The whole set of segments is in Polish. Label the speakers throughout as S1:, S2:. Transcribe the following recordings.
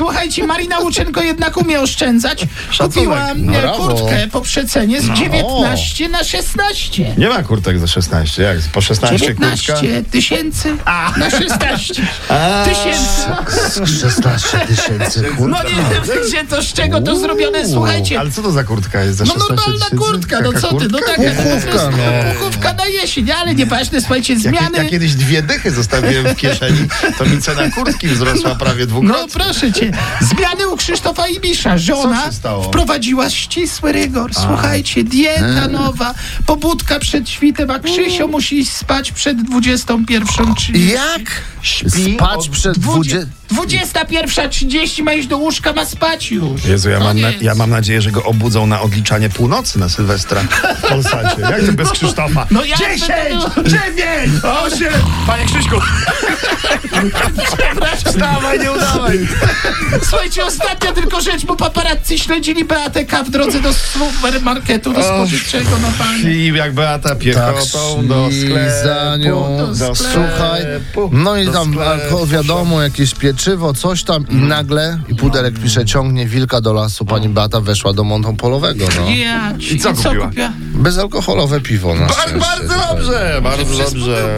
S1: Słuchajcie, Marina Łuczenko jednak umie oszczędzać. Kupiła
S2: Szacunek. No
S1: e,
S2: Brawo. No.
S1: kurtkę po przecenie z 19 na 16.
S2: Nie ma kurtek za 16. Jak? Po 16 kurtka?
S1: 19 tysięcy na 16 tysięcy.
S3: 16 tysięcy,
S1: No
S3: kurwa.
S1: nie wiem, gdzie to, z czego to zrobione, słuchajcie.
S2: Ale co to za kurtka jest za
S1: No
S2: 16
S1: normalna
S2: tysięcy?
S1: kurtka, no
S2: Taka
S1: co ty, no
S2: kurtka?
S1: taka
S2: Puchówka,
S1: no.
S2: no.
S1: puchówka na jesień, ale nieważne, słuchajcie,
S2: Jak
S1: zmiany.
S2: ja kiedyś dwie dychy zostawiłem w kieszeni, to mi cena kurtki wzrosła prawie
S1: No
S2: dwukrotnie.
S1: proszę cię, zmiany u Krzysztofa Ibisza. Żona
S2: Co się stało?
S1: wprowadziła ścisły rygor. Słuchajcie, dieta nowa, pobudka przed świtem, a Krzysio
S2: Mm.
S1: musi iść spać przed 21.30.
S3: Jak?
S2: Śpi
S3: Spać przed 20...
S1: 21.30 ma iść do łóżka, ma spać już.
S2: Jezu, ja mam, na,
S1: Koniec.
S2: ja mam nadzieję, że go obudzą na odliczanie północy na Sylwestra w Polsacie. Jak to bez Krzysztofa?
S1: No ja Dziesięć!
S2: Dziewięć! Osiem! Panie Krzyśku! Wstawaj, nie udawaj!
S1: Słuchajcie, ostatnia tylko rzecz, bo paparazzi śledzili Beatę K w drodze do supermarketu, do spożywczego na panie.
S2: I jak Beata piechotą do
S3: szli Tak, za
S2: sklepu,
S3: nią. No,
S2: do
S3: Słuchaj,
S2: sklepu,
S3: no i
S2: do
S3: tam
S2: sklepu. Mhm.
S3: alkohol, wiadomo, jakieś pieczywo, coś tam i nagle, i pudelek pisze, ciągnie wilka do lasu, pani Beata weszła do montopolowego, no.
S1: Ja, ci-
S2: I co kupiła?
S3: Bezalkoholowe piwo na
S2: Bar-
S3: szczęście.
S2: bardzo dobrze, bardzo dobrze.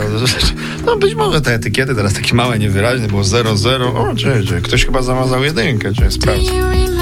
S2: No być może te etykiety teraz takie małe, niewyraźne, było 00. O, czy, czy ktoś chyba zamazał jedynkę, czy sprawdź.
S4: Do you remember